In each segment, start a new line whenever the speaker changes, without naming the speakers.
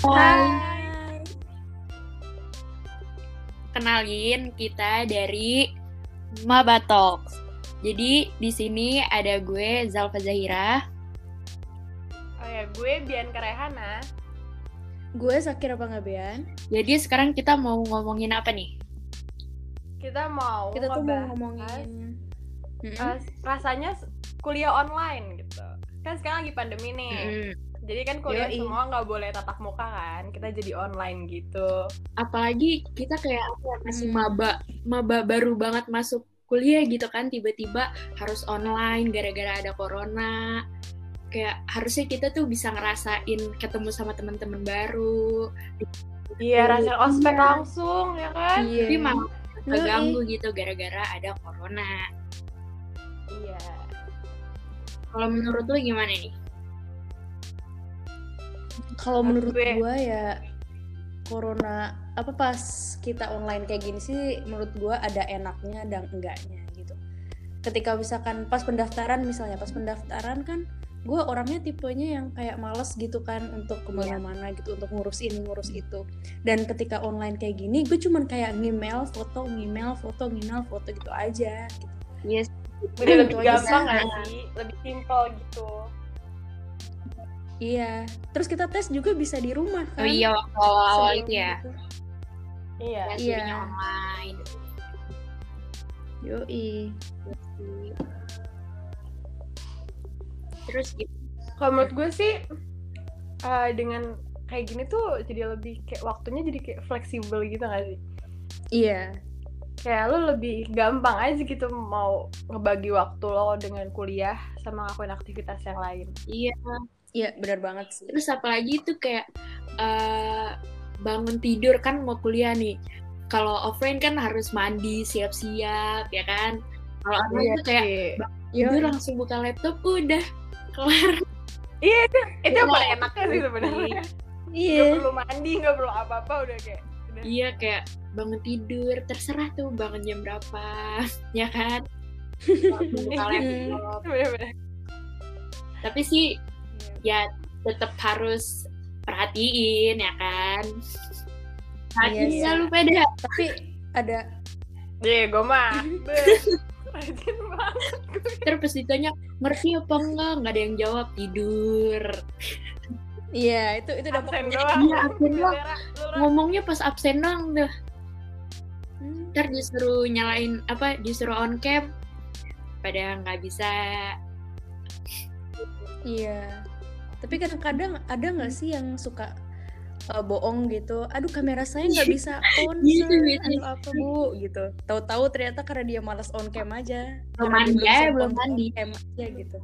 Hai. Kenalin kita dari Mabatox. Jadi di sini ada gue Zalfa Zahira.
Oh ya, gue Bian Kerehana.
Gue Sakira Pangabean.
Jadi sekarang kita mau ngomongin apa nih?
Kita mau
Kita tuh mau
ngebahas,
ngomongin
eh, rasanya s- kuliah online gitu. Kan sekarang lagi pandemi
Hmm.
nih.
Mm-mm.
Jadi kan kuliah
Yoi.
semua nggak boleh tatap muka kan. Kita jadi online gitu.
Apalagi kita kayak apa ya, masih
Hmm.
maba, maba baru banget masuk kuliah gitu kan tiba-tiba harus online gara-gara ada corona. Kayak harusnya kita tuh bisa ngerasain ketemu sama teman-teman baru.
Iya, rasanya ospek
Iya.
langsung ya kan?
Iya.
Tapi malah
Yoi.
terganggu gitu gara-gara ada corona.
Iya.
Kalau menurut lu gimana nih?
Kalau
Menurut gue-
menurut gue ya corona apa pas kita online kayak gini sih menurut gue ada enaknya dan enggaknya gitu. Ketika misalkan pas pendaftaran misalnya pas pendaftaran kan gue orangnya tipenya yang kayak males gitu kan
Iya.
untuk kemana-mana gitu untuk ngurus ini ngurus itu dan ketika online kayak gini gue cuman kayak ngemail foto ngemail foto ngemail foto gitu aja gitu.
Yes.
Jadi
Hmm,
lebih
itu aja
gampang
sih.
nggak sih? Lebih simple gitu.
Iya, terus kita tes juga bisa di rumah kan?
Oh iya waktu awal
Sebelum
itu ya.
gitu.
Iya.
Ya,
Iya.
studinya online. Iya.
Yoi.
Terus gitu.
Kalau menurut gue sih eh, dengan kayak gini tuh jadi lebih kayak waktunya jadi kayak fleksibel gitu nggak sih?
Iya.
kayak lo lebih gampang aja gitu mau ngebagi waktu lo dengan kuliah sama ngakuin aktivitas yang lain.
Iya.
Iya, benar banget sih.
Terus apalagi itu kayak eh, bangun tidur kan mau kuliah nih. Kalau offline kan harus mandi, siap-siap ya kan. Kalau
Iya
online tuh kayak
Iya sih.
tidur langsung buka laptop udah kelar.
Iya itu itu yang
Iya.
paling enaknya sih sebenarnya.
Iya.
Gak perlu mandi, gak perlu apa-apa udah kayak. udah.
Iya kayak bangun tidur terserah tuh bangun jam berapa ya kan. Buka laptop.
Iya. Bener-bener.
tapi sih ya tetap harus perhatiin ya kan Nah,
Iya
Perhatiin
sih.
selalu pada
Tapi ada
Iya, gue mah. Iya. be- Rajin banget.
terus pas ditanya ngerti apa enggak nggak ada yang jawab tidur
iya, itu itu udah
Absen doang.
Iya, absen doang.
Gara-gara lu ra-
ngomongnya pas absen dong tuh
Hmm,
ntar disuruh nyalain apa disuruh on cam pada nggak bisa
Iya. Tapi kadang-kadang ada nggak sih yang suka uh, bohong gitu. Aduh, kamera saya nggak bisa on.
Iya,
sir.
biasanya.
Aduh, apa, Bu? gitu. Tahu-tahu ternyata karena dia malas on cam aja.
Belum
Karena dia
mandi aja,
sempet
belum
on
mandi.
cam aja gitu.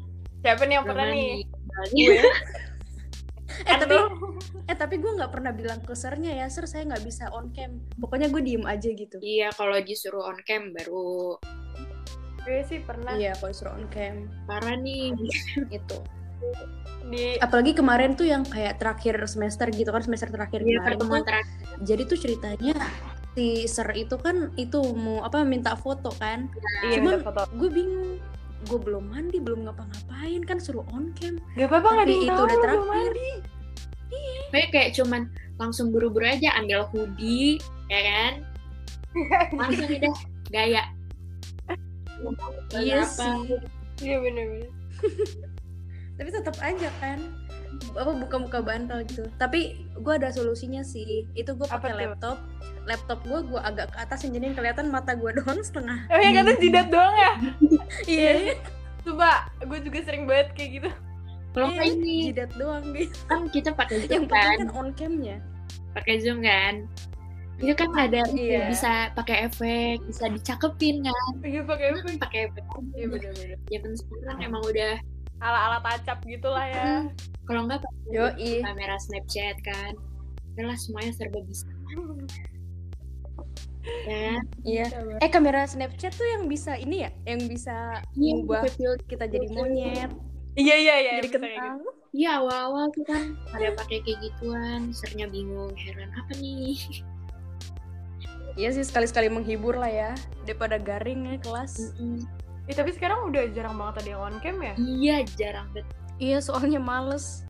Siapa nih yang pernah nih?
Iya.
Eh,
Kan
tapi
lu.
eh tapi gue nggak pernah bilang ke sernya ya, sir saya nggak bisa on cam. Pokoknya gue diem aja gitu.
iya kalau disuruh on cam baru
Gue sih pernah
Iya, kalau disuruh on cam gitu.
parah nih
itu.
di
Apalagi kemarin tuh yang kayak terakhir semester gitu kan semester terakhir
Iya,
kemarin
pertemuan
tuh,
terakhir
jadi tuh ceritanya si ser itu kan itu mau apa minta foto kan.
iya,
cuman-
udah foto.
Gue bingung. Gue belum mandi, belum ngapa-ngapain kan suruh on cam.
Gak apa-apa nggak ada
Tapi
yang
itu
tahu
udah
lu belum
terakhir.
mandi.
Pokoknya kayak cuman langsung buru-buru aja ambil hoodie, ya kan? Langsung udah gaya.
Iya
Apa?
sih.
Iya bener-bener.
Tapi tetap aja kan apa buka-buka bantal gitu. Tapi gue ada solusinya sih. Itu gue
Apa
pakai
tuh?
laptop. Laptop gue gue agak ke atas yang jadi kelihatan mata gue doang setengah.
Oh yang kata jidat doang ya?
Iya.
Coba, gue juga sering banget kayak gitu.
Kalau nggak ini
Jidat doang Iya gitu.
kan kita pakai
Yang
zoom
penting
kan,
kan on camnya.
pakai zoom kan. Itu kan ada
Iya.
bisa pakai efek, bisa dicakepin kan,
Iya pakai apa?
pakai efek.
Iya bener-bener.
Zaman sekarang emang udah
Ala-ala tacap gitulah ya.
hmm, kalau nggak pakai
Yoi.
kamera Snapchat kan. Udahlah semuanya serba bisa ya.
Iya.
Coba.
Eh kamera Snapchat tuh yang bisa ini ya, yang bisa
Iya,
Ngubah.
pakai filter.
kita jadi monyet,
Iya iya iya.
jadi
bisa kayak
kentang.
Iya awal-awal tuh kan pada pakai kayak gituan, sernya bingung, heran apa nih?
Iya sih sekali-sekali menghibur lah ya, daripada garing ya kelas.
Mm-mm.
Eh, gitu. Ih, tapi sekarang udah jarang banget ada yang on cam ya.
Iya jarang banget.
Iya soalnya males.